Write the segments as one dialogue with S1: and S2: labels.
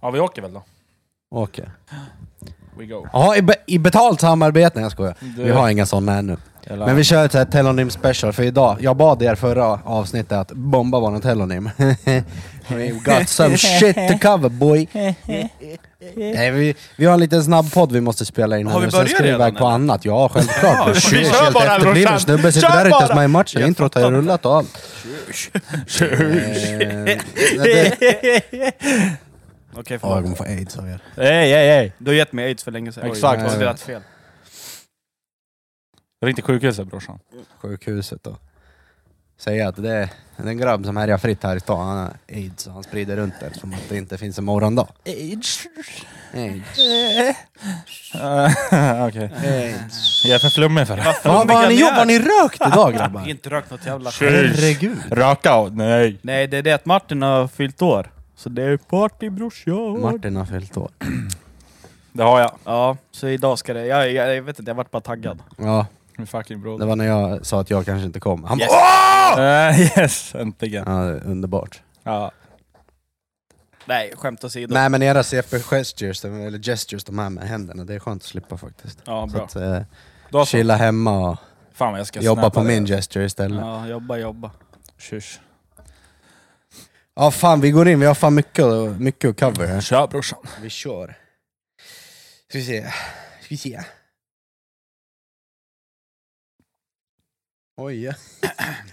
S1: Ja, vi åker väl då.
S2: Okej.
S1: We go.
S2: Jaha, i, be- i betalt samarbete. Nej jag skojar.
S1: Det-
S2: Vi har inga sådana ännu. Men vi kör ett så här telonym special för idag. Jag bad er förra avsnittet att bomba våran telonym. We got some shit to cover boy. Nej, vi, vi har en liten snabbpodd vi måste spela in här
S3: Har vi
S2: nu, sen
S3: börjat
S2: ska vi
S3: redan,
S2: iväg på annat. Ja, självklart. Du
S1: vi kör
S2: helt
S1: bara,
S2: efterbliven
S1: brorsan.
S2: snubbe sitter
S1: Kör
S2: där och inte ens
S1: bara. Oh,
S2: med i matchen. Introt har ju rullat och allt. Eh, det-
S3: Okej,
S2: Ja, jag
S3: förlåt.
S2: kommer få aids av er.
S1: Hej, hej, hej.
S3: Du har gett mig aids för länge sedan.
S1: Exakt.
S3: Jag har spelat fel.
S1: Ring till sjukhuset brorsan.
S2: sjukhuset och säga att det är det är en grabb som härjar fritt här i stan, han har aids och han sprider runt det som att det inte finns en morgondag.
S1: Aids.
S2: Aids.
S1: Eh, Okej. Jag är för flummig för det.
S2: Vad vad har ni gjort? Vad har ni rökt idag grabbar?
S3: Inte rökt något jävla
S1: Shit.
S2: Herregud.
S1: Raka och nej.
S3: Nej, det är det att Martin har fyllt år. Så det är party brorsan.
S2: Martin har fyllt år.
S1: Det har jag.
S3: Ja, så idag ska det... Jag, jag, jag vet inte, jag vart bara taggad.
S2: Ja,
S1: Min fucking
S2: det
S1: broder.
S2: var när jag sa att jag kanske inte kom. Han bara
S3: Yes.
S1: Eh, yes, äntligen.
S2: Ja, det är underbart.
S1: Ja.
S3: Nej, skämt åsido.
S2: Nej men era CP-gestures, eller gestures de här med händerna, det är skönt att slippa faktiskt.
S3: Ja,
S2: Så
S3: bra.
S2: att, eh,
S1: Då så.
S2: chilla hemma och
S1: Fan vad jag ska
S2: jobba
S1: snappa
S2: på
S1: det.
S2: min gesture istället.
S3: Ja, jobba, jobba.
S1: Tjus.
S2: Ja fan vi går in, vi har fan mycket, mycket att cover här.
S1: Kör brorsan.
S2: Vi kör. Ska vi se. Ska vi se. Oj. ja.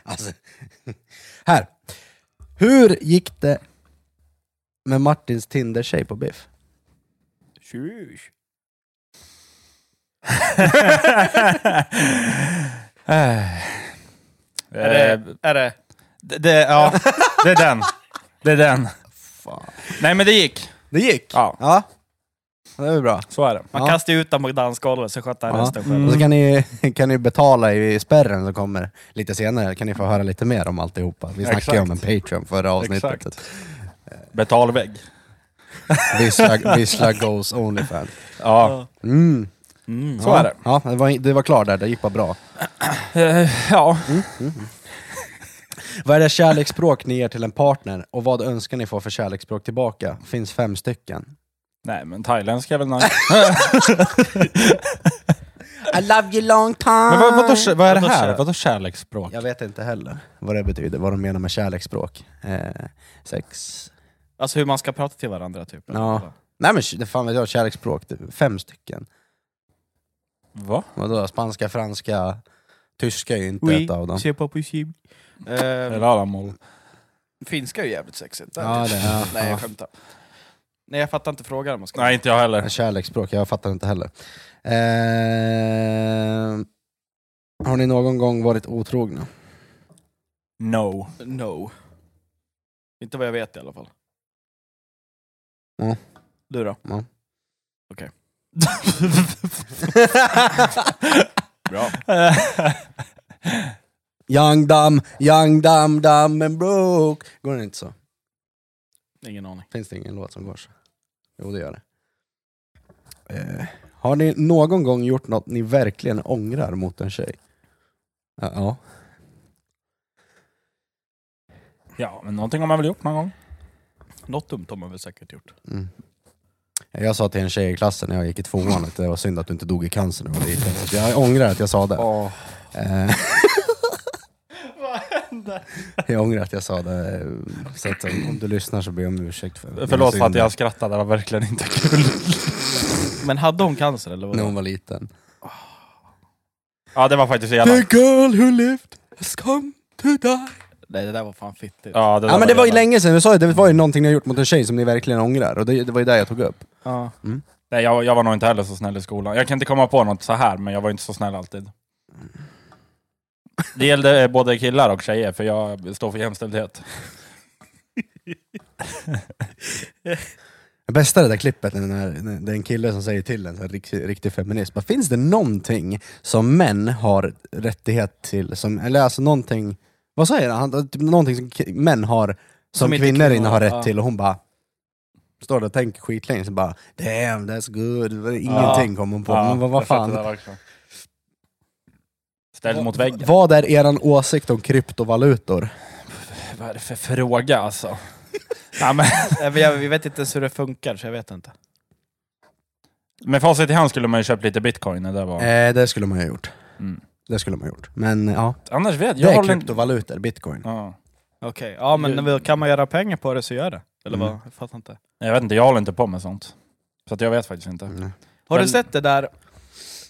S2: Alltså. Här. Hur gick det med Martins Tinder-tjej på Biff?
S3: Tjus. Är
S1: Eh,
S3: det... Är det...
S1: det, det, ja, det är den. Det är den.
S2: Fan.
S1: Nej men det gick.
S2: Det gick?
S1: Ja,
S2: Ja. Det var bra.
S1: så är det. Mm.
S3: Man
S2: Ja.
S3: kastar ju ut dem på dansgolvet så sköter han
S2: Ja.
S3: resten själv.
S2: Och så kan ni, kan ni betala i spärren som kommer lite senare, kan ni få höra lite mer om alltihopa. Vi snackade ju om en Patreon förra avsnittet.
S1: Exakt. Betalvägg.
S2: Vissla, vissla goes Onlyfans.
S1: Ja,
S2: Mm.
S3: Mm.
S1: så
S2: ja.
S1: är det.
S2: Ja, det var, det var klar där, det gick bara bra.
S1: Eh, ja.
S2: Vad är det kärleksspråk ni ger till en partner och vad önskar ni få för kärleksspråk tillbaka? Finns fem stycken.
S1: Nej men thailändska är väl nice.
S2: I love you long time!
S1: Men vad, vadå, vad är det
S3: Vadå
S1: här?
S3: kär-
S1: Vadå kärleksspråk?
S2: Jag vet inte heller vad det betyder, vad de menar med kärleksspråk. Eh, sex...
S3: Alltså hur man ska prata till varandra typ.
S2: Ja. Nej men det fan vet jag, kärleksspråk, det- fem stycken.
S1: Va?
S2: Vadå, spanska, franska, tyska är ju inte
S3: Oui,
S2: ett av dem.
S3: c'est pas possible. Eh,
S1: Eller alamol?
S3: finska är ju jävligt sexigt.
S2: Ja, det är-
S3: Nej,
S2: ja.
S3: jag skämtar. Nej, jag fattar inte frågan om man ska...
S1: Nej inte jag heller.
S2: Kärleksspråk, jag fattar inte heller. Eh, har ni någon gång varit otrogna?
S1: No.
S3: No. Inte vad jag vet i alla fall.
S2: Mm.
S3: Du då?
S2: Mm.
S3: Okej.
S1: Bra.
S2: Young dumb, young dumb, dumb and broke. Går den inte så?
S3: Ingen aning.
S2: Finns det ingen låt som går så? Jo, det gör det. Eh, har ni någon gång gjort något ni verkligen ångrar mot en tjej? Ja, ja.
S1: ja men någonting har man väl gjort någon gång?
S3: Något dumt har man väl säkert gjort.
S2: Mm. Jag sa till en tjej i klassen när jag gick i tvåan att det var synd att du inte dog i cancer när du var liten. Så Jag ångrar att jag sa det.
S1: Oh.
S2: Eh. jag ångrar att jag sa det. Så att eh, om du lyssnar så ber jag om ursäkt. För
S1: Förlåt för att
S2: synden.
S1: jag skrattade, det var verkligen inte kul.
S3: Men hade hon cancer eller? Vad
S2: När hon var liten.
S1: Ja det var faktiskt så jävla...
S2: girl who lived has come to die.
S3: Nej, det där var fan fittigt.
S1: Ja, det,
S2: Ja men det var ju
S1: jävla-
S2: länge sedan, vi sa ju, det var ju någonting ni har gjort mot en tjej som ni verkligen ångrar. Och det, det var ju det jag tog upp.
S3: Ja.
S2: Mm.
S1: Nej, jag, jag var nog inte heller så snäll i skolan. Jag kan inte komma på något så här, men jag var inte så snäll alltid. Det gällde eh, både killar och tjejer, för jag står för jämställdhet.
S2: Det bästa är det där klippet när, när, när det är en kille som säger till en så här, riktig, riktig feminist, bara, finns det någonting som män har rättighet till? Som, eller alltså någonting, vad säger han? han? Typ någonting som ki- män har, som,
S3: Som inte
S2: kvinnor
S3: kvinnor
S2: inte har
S3: har,
S2: rätt
S3: ja.
S2: till, och hon bara Står där och tänker skitlänge, så bara damn that's good. Det var Ingenting kom hon på. men vad, vad
S1: jag satt
S2: fan.
S1: där också. Ställd mot väggen.
S2: Vad är eran åsikt om kryptovalutor?
S1: Vad är det för fråga alltså? Nej, men,
S4: Nej, men jag, Eh, vi vet inte ens hur det funkar, så jag vet inte.
S1: med facit i hand skulle man ju köpt lite bitcoin. Det där var.
S2: Eh, det skulle man ha gjort.
S1: Mm.
S2: Det skulle man ha gjort. Men ja,
S1: Annars vet
S2: det
S1: jag.
S2: är
S1: håller inte-
S2: kryptovalutor, bitcoin.
S1: Ja.
S4: Okej, ja men väl, kan man göra pengar på det så gör det. Eller
S2: Mm.
S4: vad? Jag fattar inte.
S1: Jag vet inte, jag håller inte på med sånt. Så att jag vet faktiskt inte.
S2: Mm.
S4: Har
S1: Men-
S4: du sett det där,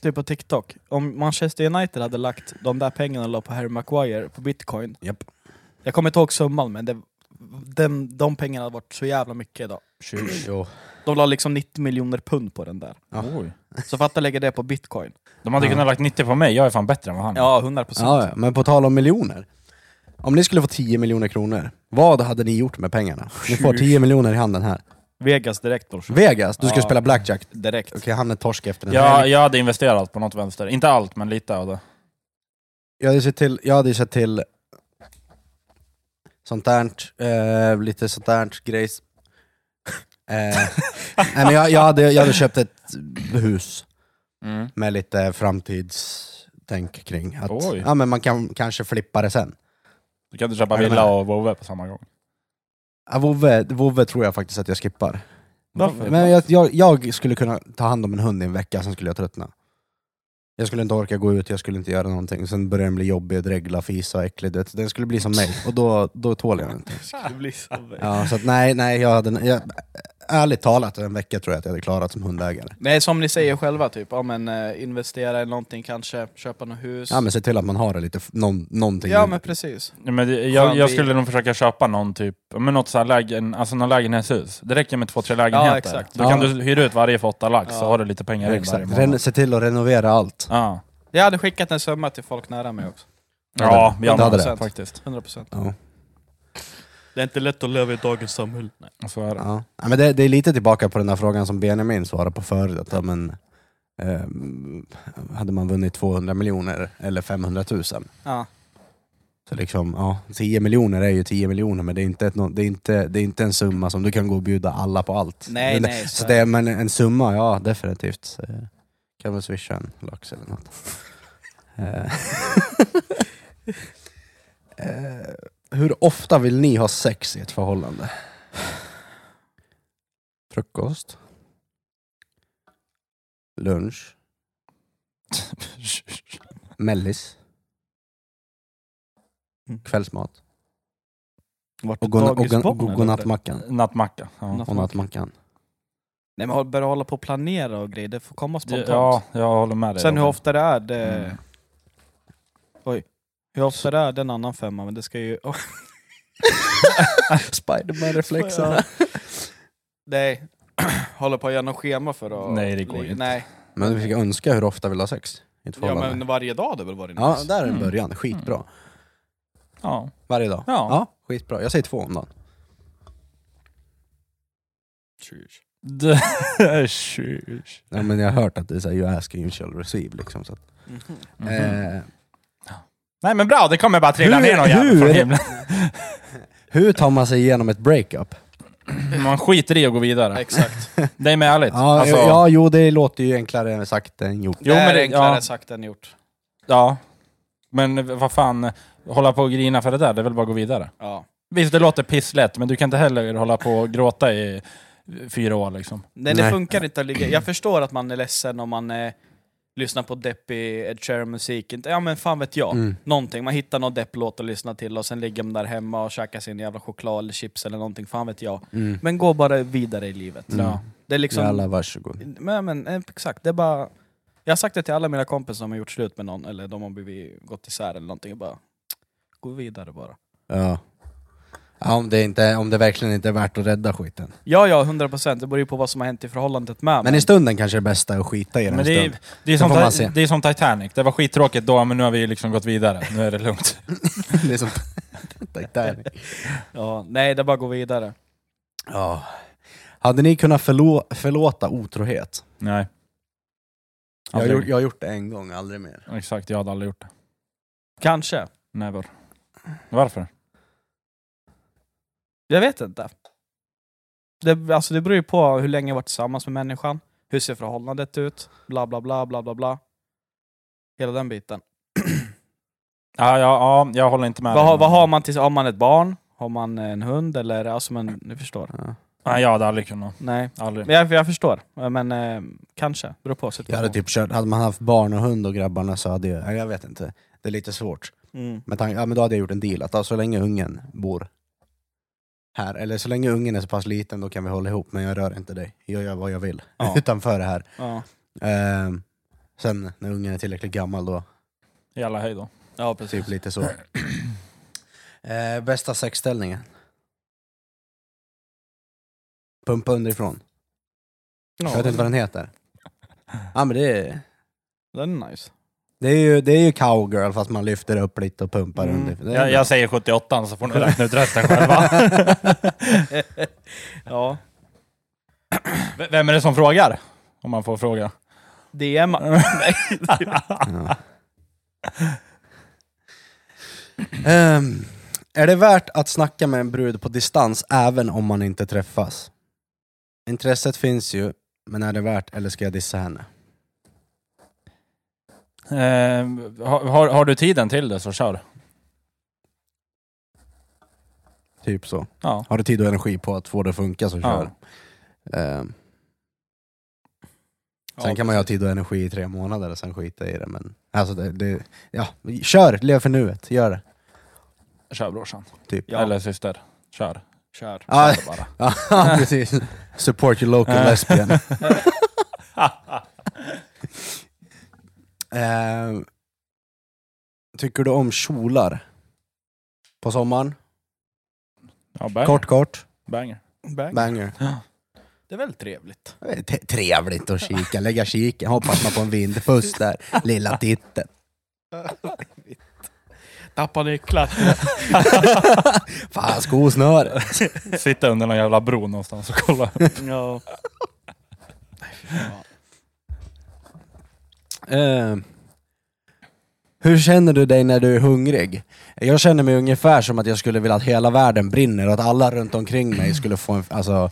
S4: typ på TikTok? Om Manchester United hade lagt de där pengarna och la på Harry Maguire på bitcoin.
S2: Japp.
S4: Jag kommer inte ihåg summan, men det, den, de pengarna hade varit så jävla mycket idag.
S2: Jo.
S4: De la liksom 90 miljoner pund på den där.
S2: Ja.
S1: Oj.
S4: Så fatta lägga det på bitcoin.
S1: De hade
S2: Ja.
S1: kunnat lagt 90 på mig, jag är fan bättre än vad han är.
S4: Ja, 100 procent.
S2: Ja, ja, men på tal om miljoner. Om ni skulle få 10 miljoner kronor, vad hade ni gjort med pengarna? Ni får 10 miljoner i handen här.
S4: Vegas direkt brorsan.
S2: Vegas, du ska
S4: Ja.
S2: spela blackjack. Okej,
S4: Direkt.
S2: han är torsk efter den här.
S1: Jag, jag hade investerat på något vänster. Inte allt, men lite av det.
S2: Jag hade sett till, jag hade sett till sånt där, eh, lite sånt där grejs. Eh, nej, men jag, jag, hade, jag hade köpt ett hus
S4: Mm.
S2: med lite framtidstänk kring att
S1: Oj.
S2: ja, men man kan kanske flippa det sen.
S1: Du kan inte köpa
S2: Är du
S1: villa
S2: med?
S1: och vovve på samma gång.
S2: Ja, Vovve, Vovve tror jag faktiskt att jag skippar.
S1: Varför?
S2: Men jag, jag, jag skulle kunna ta hand om en hund i en vecka, sen skulle jag tröttna. Jag skulle inte orka gå ut, jag skulle inte göra någonting. Sen börjar den bli jobbig och dregla, fisa och äcklig. du vet. Den skulle bli som mig, och då, då tål jag den inte.
S4: Det blir så
S2: Ja, så att nej, nej, jag hade, jag, ärligt talat, en vecka tror jag att jag hade klarat som hundägare.
S4: Nej, som ni säger själva, typ. Ja, men, eh, investera i någonting kanske, köpa något hus.
S2: Ja men se till att man har det lite, f- någon, någonting.
S4: ja, men precis.
S1: Nej, Men det- jag,
S4: Skön
S1: jag
S4: bil.
S1: skulle nog försöka köpa någon typ, men något så här lägen, alltså någon lägenhetshus. Det räcker med två, tre lägenheter.
S4: Ja, exakt.
S1: Då
S2: Ja.
S1: kan du hyra ut varje för åtta lax så
S4: Ja.
S1: har du lite pengar in varje
S2: Exakt.
S1: månad.
S2: Ren, se till att renovera allt.
S1: Ja,
S4: Jag hade skickat en summa till folk nära mig också.
S1: ja vi
S2: det
S1: hade
S2: hade
S1: det
S4: det.
S1: faktiskt.
S4: 100 procent.
S2: Ja.
S3: Det är inte lätt att leva i dagens samhälle.
S1: Så är det.
S2: Ja. Ja, men det, det är lite tillbaka på den här frågan som Benjamin svarade på förut. Att, ja, men, ehm, hade man vunnit 200 miljoner eller 500 000?
S4: Ja.
S2: Så liksom, ja, 10 miljoner är ju 10 miljoner men det är, inte ett, nå- det, är inte, det är inte en summa som du kan gå och bjuda alla på allt.
S4: Nej,
S2: men,
S4: nej,
S2: Så
S4: så
S2: det, är- men en summa, ja definitivt. Så, eh, kan väl swisha en lax eller något. Eh, eh, Hur ofta vill ni ha sex i ett förhållande? Frukost? Lunch? Mellis?
S3: Mm.
S2: Kvällsmat?
S4: Vart
S2: Och, godna- och, godna- och godnattmackan.
S1: Nattmacka. Ja.
S4: Natt-
S2: Och nattmackan.
S4: Nej, men börja hålla på och planera och grejer. Det får komma spontant.
S1: ja, jag håller med dig.
S4: Sen hur
S1: Robin.
S4: ofta det är, det...
S1: Mm.
S4: Hur ofta det är, det är en annan femma, men det ska ju... Åh,
S2: Spiderman-reflexerna.
S4: nej. Håller på att göra något schema för att...
S1: Nej, det går ju inte.
S4: Nej.
S2: Men vi fick önska hur ofta vill du ha sex i ett
S4: Ja,
S2: förhållande. Ja,
S4: men varje dag hade väl varit nice?
S2: där är en
S1: Mm.
S2: början. Skitbra.
S1: Ja.
S2: Varje dag.
S1: Ja.
S2: skitbra. Jag säger två om dagen.
S4: Tjus.
S1: Det- Tjus.
S2: Ja, men jag har hört att det är såhär, you ask and you shall receive. Liksom, så att,
S4: Mhm.
S1: Mhm.
S2: eh,
S1: Nej men bra, det kommer bara trilla
S2: Hur-
S1: ner någon jävel från
S2: hur-
S1: himlen.
S2: hur tar man sig igenom ett breakup?
S1: Man skiter i och går vidare.
S4: Exakt.
S1: Det är med ärligt.
S2: Ja,
S1: Alltså,
S2: ja, jo det låter ju enklare sagt än gjort.
S1: Jo,
S4: det
S1: men
S4: är
S1: det-
S4: enklare alltså.
S1: ja.
S4: sagt än gjort.
S1: ja. Men vad fan, hålla på och grina för det där, det är väl bara att gå vidare.
S4: Ja.
S1: Visst, det låter pisslätt, men du kan inte heller hålla på och gråta i fyra år liksom.
S4: Nej,
S2: Nej.
S4: det funkar inte att ligga... Jag förstår att man är ledsen om man eh, lyssnar på deppig Ed Sheeran-musik. Inte- Ja, men fan vet jag.
S2: Mm.
S4: Någonting. Man hittar någon depplåt att lyssna till och sen ligger man där hemma och käkar sin jävla choklad eller chips eller någonting. Fan vet jag.
S2: Mm.
S4: Men gå bara vidare i livet.
S2: Mm.
S1: Ja.
S4: Det är liksom...
S2: Jalla, varsågod.
S4: Men, men eh, exakt, det är bara... Jag har sagt det till alla mina kompisar som har gjort slut med någon, eller de har blivit, gått isär eller någonting. Jag bara, gå vidare bara.
S2: Ja. Ja, om, det inte, om det verkligen inte är värt att rädda skiten.
S4: Ja, ja, 100%. Det beror ju på vad som har hänt i förhållandet med.
S2: Men i stunden kanske det bästa är att skita i den
S1: Men
S2: en
S1: det
S2: stund.
S1: är, det, är
S2: Sen
S1: som
S2: får man
S1: Ti-
S2: se.
S1: det är som Titanic, det var skittråkigt då, men nu har vi liksom gått vidare. Nu är det lugnt.
S2: det är som Titanic.
S4: ja, nej, det är bara att gå vidare.
S2: Ja. Hade ni kunnat förlå- förlåta otrohet?
S1: Nej.
S2: Jag har,
S1: Aldrig.
S2: gjort, jag har gjort det en gång, aldrig mer.
S1: Exakt, jag hade aldrig gjort det.
S4: Kanske.
S1: Never. Varför?
S4: Jag vet inte. Det, alltså det beror ju på hur länge jag varit tillsammans med människan, hur ser förhållandet ut, bla bla bla bla bla bla. Hela den biten.
S1: Ja, ja, ja, jag håller inte med.
S4: Vad,
S1: dig.
S4: har- vad har man till Har man ett barn? Har man en hund? Eller, alltså men, ni förstår.
S2: Ja.
S1: Nej, jag hade aldrig kunnat.
S4: Nej,
S1: Aldrig.
S4: men jag, jag förstår. Men eh, kanske, beror på
S2: Jag hade
S4: situationen.
S2: typ kört, hade man haft barn och hund och grabbarna så hade jag, jag vet inte, det är lite svårt.
S4: Mm.
S2: Men, tank, ja, men då hade jag gjort en deal, att ja, så länge ungen bor här, eller så länge ungen är så pass liten då kan vi hålla ihop, men jag rör inte dig. Jag gör vad jag vill
S4: Ja.
S2: utanför det här.
S4: Ja.
S2: Ehm, sen när ungen är tillräckligt gammal då,
S1: Jalla hej då.
S4: ja, precis.
S2: typ lite så. Ehm, bästa sexställningen? Pumpa underifrån.
S4: Ja,
S2: Jag vet inte vad den heter. Ja men det är...
S4: Den är nice.
S2: Det är, ju, det är ju cowgirl fast man lyfter upp lite och pumpar
S4: Mm.
S2: under. Det är
S1: Jag,
S2: ju-
S1: jag säger 78 så får ni räkna ut resten själva.
S4: Ja.
S1: V- Vem är det som frågar? Om man får fråga.
S4: DM.
S2: Ja. Ehm, är det värt att snacka med en brud på distans även om man inte träffas? Intresset finns ju, men är det värt eller ska jag dissa henne?
S1: Eh, har, har- har du tiden till det så kör.
S2: Typ så.
S1: Ja.
S2: Har du tid och energi på att få det att funka så kör.
S1: Ja.
S2: Ehm,
S4: Ja,
S2: sen kan man ju ha tid och energi i tre månader och sen skita i det. Men alltså det, det, ja, kör! Lev för nuet, gör det.
S1: Kör brorsan.
S2: Typ.
S4: Ja.
S1: Eller syster. Kör.
S4: Kör.
S2: Ja,
S1: Kör bara.
S2: Ja, precis. Support your local lesbian. Eh, tycker du om kjolar? På sommaren?
S1: Ja, banger.
S2: Kort, kort.
S1: Banger.
S4: Bang.
S2: Banger.
S4: Det är väldigt trevligt.
S2: Det är te- Trevligt att kika, lägga kiken, hoppas man på en vindpuss där, lilla titten.
S4: Tappa nycklar.
S2: Fan, skosnöre.
S1: Sitta under någon jävla bro någonstans och kolla.
S4: ja.
S2: Eh, hur känner du dig när du är hungrig? Jag känner mig ungefär som att jag skulle vilja att hela världen brinner och att alla runt omkring mig skulle få en... Alltså...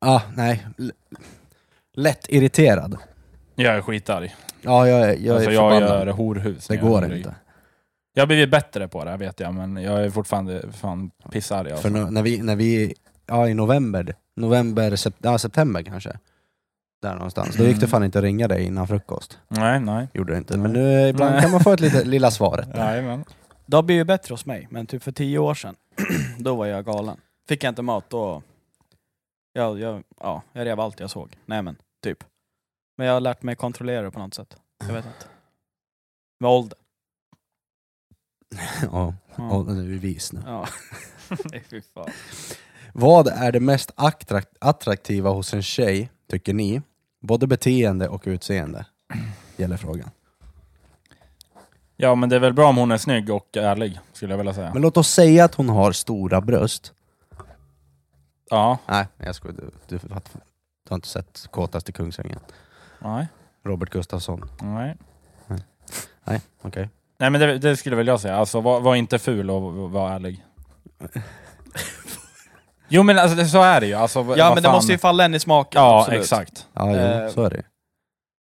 S2: Ah, nej. L- lätt irriterad.
S1: Jag är skitarg.
S2: Ja, jag, är- jag är
S1: alltså, jag
S2: förbannad.
S1: gör horhus. när
S2: det
S1: jag är
S2: går
S1: hungrig.
S2: inte.
S1: Jag har blivit bättre på det, vet jag, men jag är fortfarande fan pissarg. Alltså.
S2: För nu, när vi... När vi ja, i november. November, sep- ja, september kanske. Där någonstans. Då gick det
S1: Mm.
S2: fan inte att ringa dig innan frukost.
S1: Nej, nej.
S2: Gjorde det inte. Men nu ibland kan man få ett litet, lilla svaret.
S1: Jajamän.
S4: Det har blivit bättre hos mig, men typ för tio år sedan, då var jag galen. Fick jag inte mat då... Jag, jag, ja, jag rev allt jag såg. Nej men, typ. Men jag har lärt mig kontrollera det på något sätt. Jag vet inte. Med ålder.
S2: Ja,
S4: Ja.
S2: och nu är vi vis nu.
S4: Ja. Nej, fy fan.
S2: Vad är det mest attrakt- attraktiva hos en tjej, tycker ni? Både beteende och utseende, gäller frågan.
S1: Ja, men det är väl bra om hon är snygg och ärlig, skulle jag vilja säga.
S2: Men låt oss säga att hon har stora bröst.
S1: Ja,
S2: Nej, jag skojar. Du, du, fatt- du har inte sett Kåtast i Kungsängen?
S1: nej,
S2: Robert Gustafsson.
S1: nej.
S2: Okej.
S1: Nej, men det, det skulle väl jag säga. Alltså, var, var inte ful och var, var ärlig. Jo, men alltså, det, så är det ju. Alltså, vad-
S4: Ja
S1: vad
S4: men det
S1: fan-
S4: måste ju falla en i smaken.
S1: Ja,
S4: absolut.
S1: exakt.
S2: Ja, jo,
S4: Eh,
S2: så är det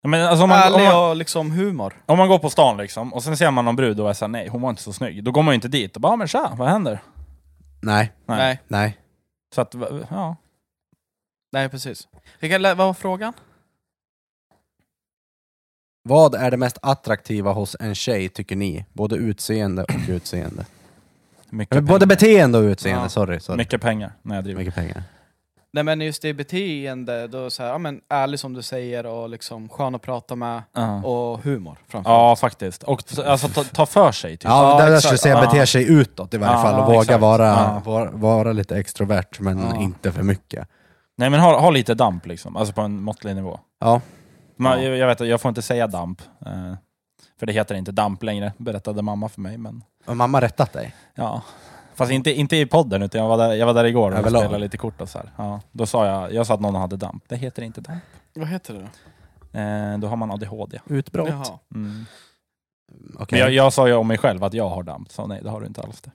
S1: Ja, Men alltså, om, man, om,
S4: Ärlig
S1: man,
S4: och liksom humor.
S1: om man går på stan liksom, och sen ser man någon brud och är såhär, nej, hon var inte så snygg. Då går man ju inte dit och bara, "Ja, men tja, vad händer?
S2: Nej,
S1: Nej.
S4: Nej.
S2: nej.
S1: Så att, ja.
S4: Nej, precis. Vilka, vad var frågan?
S2: Vad är det mest attraktiva hos en tjej, tycker ni? Både utseende och utseende.
S1: Mycket,
S2: Eller både
S1: pengar.
S2: beteende och utseende,
S4: Ja.
S2: sorry. sorry.
S1: mycket pengar. när jag driver.
S2: Mycket pengar.
S4: Nej men just det beteende, då så här, ja, men ärlig som du säger och liksom skön att prata med
S1: Ja.
S4: och humor framförallt.
S1: Ja, faktiskt. Och t- alltså, ta, ta för sig. Typ.
S2: Ja,
S4: Ja,
S2: där
S4: exakt.
S2: skulle jag säga
S1: Ja.
S2: bete sig utåt i varje
S1: Ja,
S2: fall och
S1: ja,
S2: våga
S1: exakt.
S2: vara,
S1: Ja.
S2: vara, vara lite extrovert men
S4: Ja.
S2: inte för mycket.
S1: Nej, men ha, ha lite damp liksom. Alltså på en måttlig nivå.
S2: Ja.
S1: Man,
S2: Ja.
S1: jag, jag vet att jag får inte säga damp. Eh, för det heter inte damp längre, berättade mamma för mig. Men,
S2: Har mamma rättat dig?
S1: ja. Fast inte, inte i podden, utan jag var där, jag var där igår och
S2: Överlag.
S1: spelade lite kort och så här. Ja, då sa jag, jag sa att någon hade damp. Det heter inte damp.
S4: Vad heter det då?
S1: Eh, då har man ADHD.
S2: Utbrott.
S4: Jaha.
S1: Mm.
S2: Okej.
S1: Men jag, jag sa ju om mig själv att jag har damp, så nej det har du inte alls det.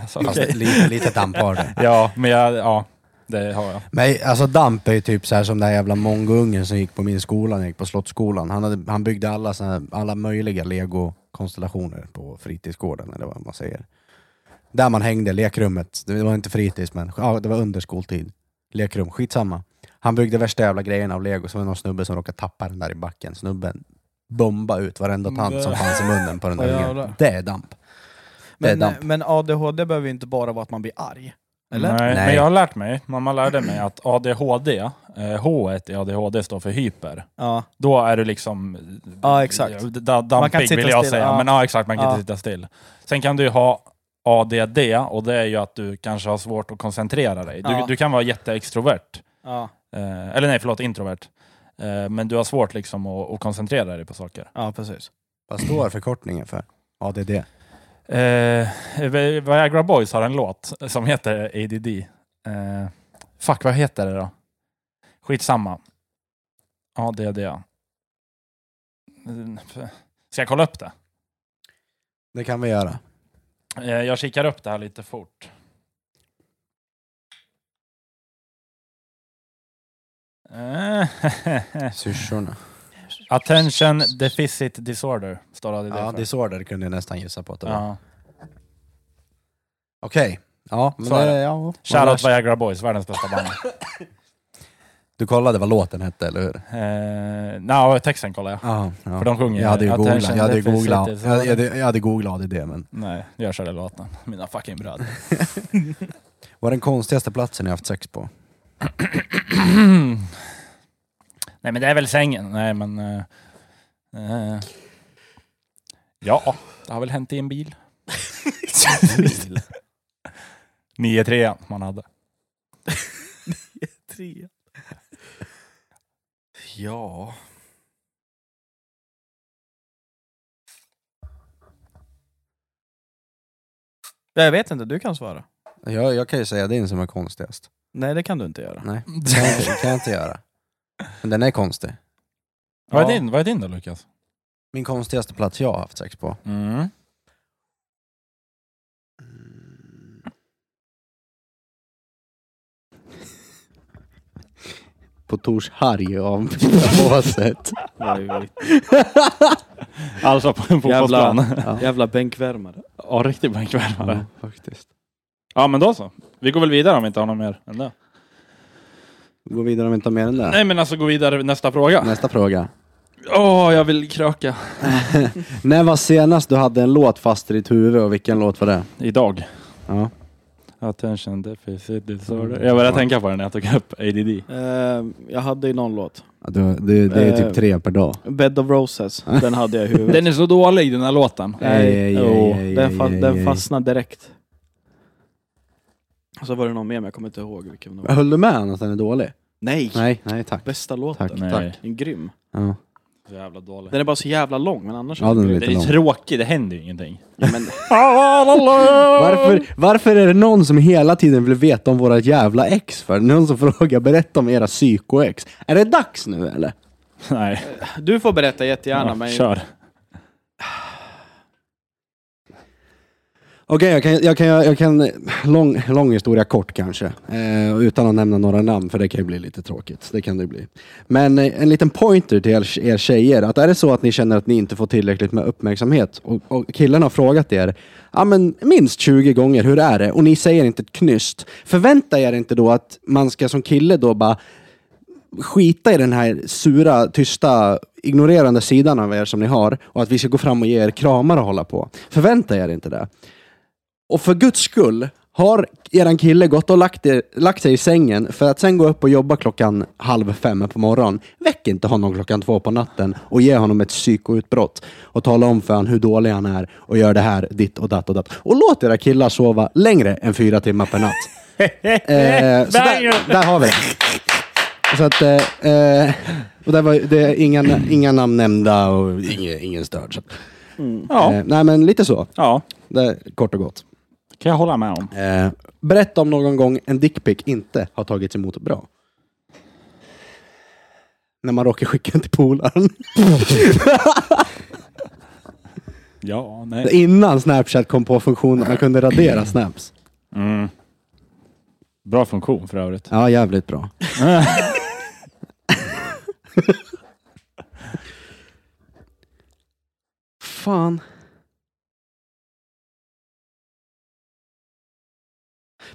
S1: Alltså,
S2: Fast lite, lite damp har det.
S1: Ja, men jag, ja, det har jag.
S2: Men alltså damp är ju typ så här som den här jävla mongoungen som gick på min skola, när jag gick på Slottsskolan. Han, hade, han byggde alla, såna här, alla möjliga legokonstellationer på fritidsgården, eller vad man säger. Där man hängde, lekrummet. Det var inte fritids, men ja, det var under skoltid. Lekrum, skitsamma. Han byggde värsta jävla grejerna av lego, så var det någon snubbe som råkade tappa den där i backen. Snubben bomba ut varenda tand som fanns i munnen på den
S4: Åh,
S2: där ungen.
S4: Mm. jävlar.
S2: Det är damp. Det är
S4: Men, eh,
S2: damp.
S4: men ADHD behöver ju inte bara vara att man blir arg. Eller?
S1: Nej,
S2: Nej.
S1: men jag har lärt mig, mamma lärde mig att ADHD, eh, H i ADHD står för hyper.
S4: Ja.
S1: Då är du liksom...
S4: Ja, exakt.
S1: d- d- Dampig
S4: Man kan inte sitta
S1: vill jag
S4: still,
S1: säga,
S4: ja.
S1: men ja exakt, man kan
S4: Ja.
S1: inte sitta still. Sen kan du ju ha ADD och det är ju att du kanske har svårt att koncentrera dig. Du,
S4: Ja.
S1: du kan vara jätteextrovert.
S4: Ja.
S1: Eh, eller nej, förlåt, introvert. Eh, men du har svårt liksom att, att koncentrera dig på saker.
S4: ja, precis.
S2: Vad står förkortningen för? ADD.
S1: Eh, Vi- Viagra Boys har en låt som heter ADD. Eh, fuck, vad heter det då? Skitsamma. ADD. ja. Ska jag kolla upp det?
S2: Det kan vi göra.
S1: Eh, jag kikar upp det här lite fort. Eh,
S2: Syrsorna.
S1: Attention Deficit Disorder står ADD
S2: Ja,
S1: för.
S2: disorder kunde jag nästan gissa på att det var.
S1: Ja.
S2: Okej. Ja, men
S1: Så är
S2: det,
S1: det.
S2: ja. Man lär
S1: Shoutout
S2: sig.
S1: Viagra Boys, världens bästa band.
S2: Du kollade vad låten hette, eller hur?
S1: Eh, Nja, texten kollar jag.
S2: Ja, ja.
S1: För de sjunger
S2: jag hade ju
S1: Attention
S2: googlat, jag hade ju
S1: deficit
S2: googlat, jag
S1: disorder.
S2: hade, jag hade- jag hade googlat ADD, men
S1: Nej, jag körde låten. Mina fucking bröder.
S2: var den konstigaste platsen jag haft sex på?
S1: Nej men det är väl sängen. Nej men... eh, eh, ja, det har väl hänt i en bil. bil. 9-3 man hade.
S4: Tre. Ja. Jag vet inte, du kan svara.
S2: Jag, jag kan ju säga din som är konstigast.
S4: Nej, det kan du inte göra.
S2: Nej, det kan jag inte, det kan jag inte göra. Men den är konstig.
S1: Vad, är
S4: Ja.
S1: din, vad är din då Lukas?
S2: Min konstigaste plats jag har haft sex på.
S1: Mm.
S2: På Tors harg av påset.
S3: Alltså på en
S4: fotbollsplan.
S3: Jävla bänkvärmare.
S1: Ja, riktigt bänkvärmare.
S2: Mm. faktiskt.
S1: Ja men då så. Vi går väl vidare om vi inte har något mer än det.
S2: Gå vidare om vi inte har mer än det.
S1: Nej men alltså gå vidare nästa fråga.
S2: Nästa fråga.
S1: Åh, jag vill kröka.
S2: När var senast du hade en låt fast i ditt huvud och vilken låt var det?
S1: Idag.
S2: Ja. Mm.
S1: Attention deficit disorder. Jag började tänka på det när jag tog upp ADD.
S4: Eh, jag hade ju någon låt.
S2: Det, det, det är
S4: Eh,
S2: typ tre per dag.
S4: Bed of Roses, den hade jag i huvudet.
S1: Den är så dålig den här låten.
S4: Nej,
S2: Ej, ej,
S4: jo,
S2: ej,
S4: den,
S2: ej,
S4: fa-
S2: ej, ej.
S4: den fastnade direkt. Och så var det någon mer, men jag kommer inte ihåg vilken det var.
S2: Höll du med om att den är dålig?
S4: Nej!
S2: Nej, nej tack.
S4: Bästa låten.
S2: Tack,
S1: Nej.
S2: tack.
S4: Den är grym.
S2: Ja.
S1: Så jävla dålig.
S4: Den är bara så jävla lång, men annars
S2: Ja,
S4: är den
S2: den är
S4: grym.
S2: lite-
S1: Den är tråkig, det händer ju ingenting.
S4: Ja, men,
S2: Varför, varför är det någon som hela tiden vill veta om våra jävla ex för? Någon som frågar berätta om era psykoex. Är det dags nu eller?
S1: Nej,
S4: du får berätta jättegärna,
S1: ja,
S4: men
S1: kör.
S2: Okej, jag kan, jag kan, jag kan lång, lång historia kort kanske. Eh, utan att nämna några namn, för det kan ju bli lite tråkigt. Det kan det ju bli. Men eh, en liten pointer till er, er tjejer. Att är det så att ni känner att ni inte får tillräckligt med uppmärksamhet och, och killen har frågat er ja, men minst 20 gånger hur är det och ni säger inte ett knyst. Förvänta er inte då att man ska som kille då bara skita i den här sura, tysta, ignorerande sidan av er som ni har och att vi ska gå fram och ge er kramar och hålla på. Förvänta er inte det. Och för guds skull, har eran kille gått och lagt, er, lagt sig i sängen för att sen gå upp och jobba klockan halv fem på morgonen, väck inte honom klockan två på natten och ge honom ett psykoutbrott och tala om för honom hur dålig han är och gör det här, ditt och datt och datt. Och låt era killar sova längre än fyra timmar per natt. Eh, så där, där har vi det. Så att, eh, eh, och där var, ju- det är inga, inga namn nämnda och ingen, ingen störd. Så. att,
S1: Ja,
S2: Eh, nej men lite så,
S1: ja,
S2: det är kort och gott.
S1: kan jag hålla med om.
S2: Eh, berätta om någon gång en dickpic inte har tagits emot bra. När man råkar skicka den till polaren.
S1: Ja, nej.
S2: Innan Snapchat kom på funktionen att man kunde radera snaps.
S1: Mm. Bra funktion för övrigt.
S2: Ja, jävligt bra. Fan.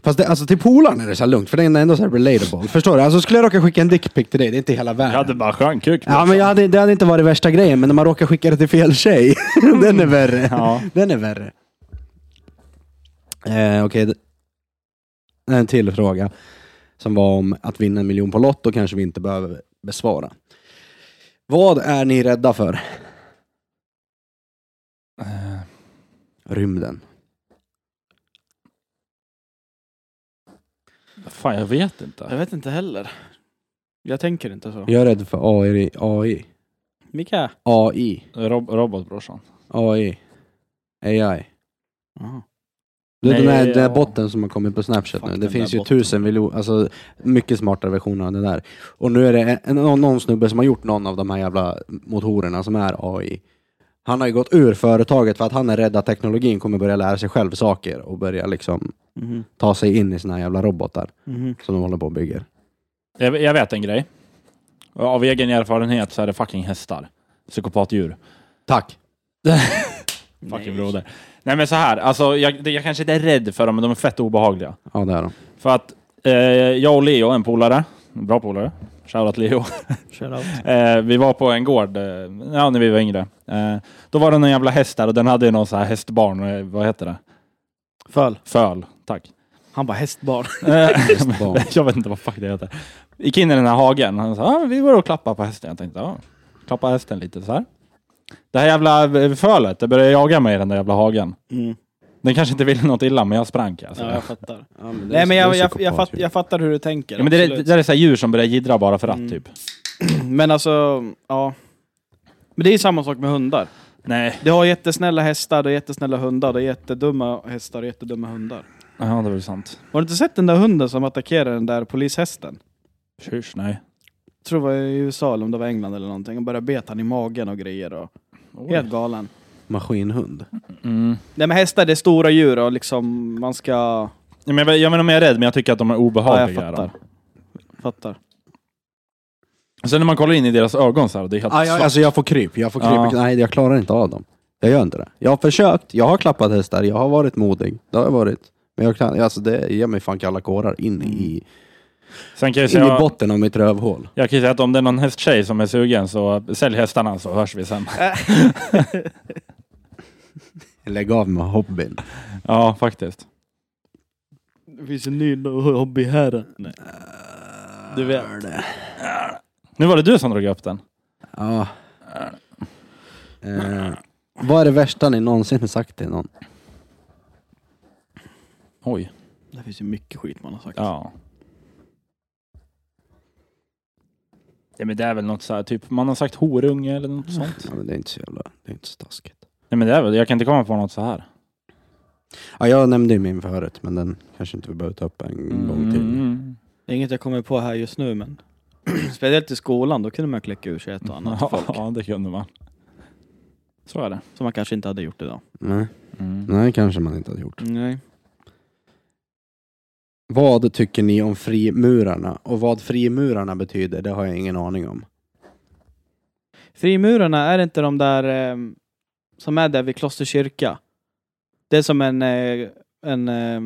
S2: Fast det, alltså till polaren är det så här lugnt, för den är ändå så här relatable. Förstår du? Alltså skulle jag råka skicka en dickpic till dig, det är inte hela
S1: Jag
S2: världen.
S1: hade bara stjärnkuk.
S2: Ja, men jag hade, det hade inte varit värsta grejen, men när man råkar skicka det till fel tjej. den är värre.
S1: Ja.
S2: Den är värre. Eh, Okej, d- en till fråga. Som var om att vinna en miljon på Lotto kanske vi inte behöver besvara. Vad är ni rädda för?
S1: Eh,
S2: Rymden.
S1: Fan, jag vet
S4: Jag
S1: inte.
S4: vet inte heller. Jag tänker inte så.
S2: Jag är rädd för AI. AI.
S4: Mika?
S2: AI.
S1: Rob robotbrorsan.
S2: AI. AI.
S4: Jaha.
S2: Du vet den
S1: Nej,
S2: här, den här
S1: ja.
S2: botten som har kommit på Snapchat
S1: Fuck,
S2: nu. Det
S1: den
S2: finns
S1: där
S2: ju
S1: botten.
S2: tusen miljoner, alltså mycket smartare versioner av det där. Och nu är det en- en, någon, någon snubbe som har gjort någon av de här jävla motorerna som är AI. Han har ju gått ur företaget för att han är rädd att teknologin kommer börja lära sig själv saker och börja liksom
S4: Mhm.
S2: ta sig in i sina jävla robotar
S4: Mhm.
S2: som de håller på och bygger.
S1: Jag, jag vet en grej. Av egen erfarenhet så är det fucking hästar. Psykopatdjur.
S2: Tack!
S1: Fucking
S4: Nej.
S1: broder. Nej men så här, alltså jag, det- jag kanske inte är rädd för dem, men de är fett obehagliga.
S2: Ja, det är de.
S1: För att eh, jag och Leo, en polare, en bra polare, shoutout Leo. Eh, vi var på en gård eh, ja, när vi var yngre. Eh, då var det någon jävla häst där och den hade ju någon så här hästbarn, eh, vad heter det?
S4: Föl.
S1: Föl, tack.
S4: Han bara hästbarn.
S1: Eh, jag vet inte vad fuck det heter. Gick in i den här hagen. Han sa, ah, vi var och klappade på hästen. Jag tänkte, ah, klappa hästen lite så här. Det här jävla eh, fölet, det började jaga mig i den där jävla hagen.
S4: Mm.
S1: Den kanske inte ville något illa, men jag sprang alltså.
S4: Ja, jag fattar.
S2: Ja, men det är-
S4: Nej men
S2: det är
S4: jag, jag, jag,
S2: psykopat
S4: fatt,
S2: ju.
S4: jag fattar hur du tänker.
S1: Ja, men det, är- det
S4: absolut.
S1: där är så här djur som börjar jiddra bara för att
S4: Mm.
S1: typ.
S4: Men alltså, ja. Men det är ju samma sak med hundar.
S1: Nej.
S4: Det har jättesnälla hästar, det är jättesnälla hundar, det är jättedumma hästar och jättedumma hundar.
S1: Ja, det är väl sant.
S4: Har du inte sett den där hunden som attackerade den där polishästen?
S1: Tjus, nej.
S4: Jag tror det var i USA eller om det var England eller någonting. Och började beta han i magen och grejer. Och, helt galen.
S2: Maskinhund.
S1: Mm.
S4: Nej men hästar det är stora djur och liksom man ska...
S1: Ja, men jag, jag menar, om jag är rädd, men jag tycker att de är
S4: Ja,
S1: obehagliga.
S4: jag fattar.
S1: Ja,
S4: Fattar.
S1: Sen när man kollar in i deras ögon så här, det är helt
S2: Ah, jag,
S1: svart.
S2: alltså jag får kryp. Jag får kryp.
S1: Ja.
S2: Nej, jag klarar inte av dem. Jag gör inte det. Jag har försökt. Jag har klappat hästar. Jag har varit modig. Det har jag varit. Men jag kan, alltså det ger mig fan kalla kårar in i,
S1: Sen kan Mm. jag
S2: in i
S1: säga,
S2: botten av mitt rövhål.
S1: jag kan ju säga att om det är någon hästtjej som är sugen så sälj hästarna så hörs vi sen.
S2: Lägg av med hobbyn.
S1: ja, faktiskt.
S4: Det finns en ny hobby här. Nej. Du vet.
S1: Nu var det du som drog upp den.
S2: Ja. Eh, vad är det värsta ni någonsin sagt till någon?
S1: Oj.
S4: Det finns ju mycket skit man har sagt.
S1: Ja. ja men det är väl något så här, typ man har sagt horunge eller något sånt.
S2: Ja, men det är inte så jävla... Det är inte så taskigt.
S1: Nej men det är väl, jag kan inte komma på något så här.
S2: Ja, jag nämnde ju min förut, men den kanske inte vi behöver ta upp en gång till.
S1: Mm.
S4: Det är inget jag kommer på här just nu men... Speciellt i skolan, då kunde man kläcka ur sig ett och annat till
S1: Ja,
S4: folk.
S1: ja, det kunde man. Så är det.
S4: Som man kanske inte hade gjort idag.
S2: Nej,
S1: Mm.
S2: nej, kanske man inte hade gjort.
S4: Nej.
S2: Vad tycker ni om frimurarna? Och vad frimurarna betyder, det har jag ingen aning om.
S4: Frimurarna, är det inte de där eh, som är där vid klosterkyrka? Det är som en, eh, en eh,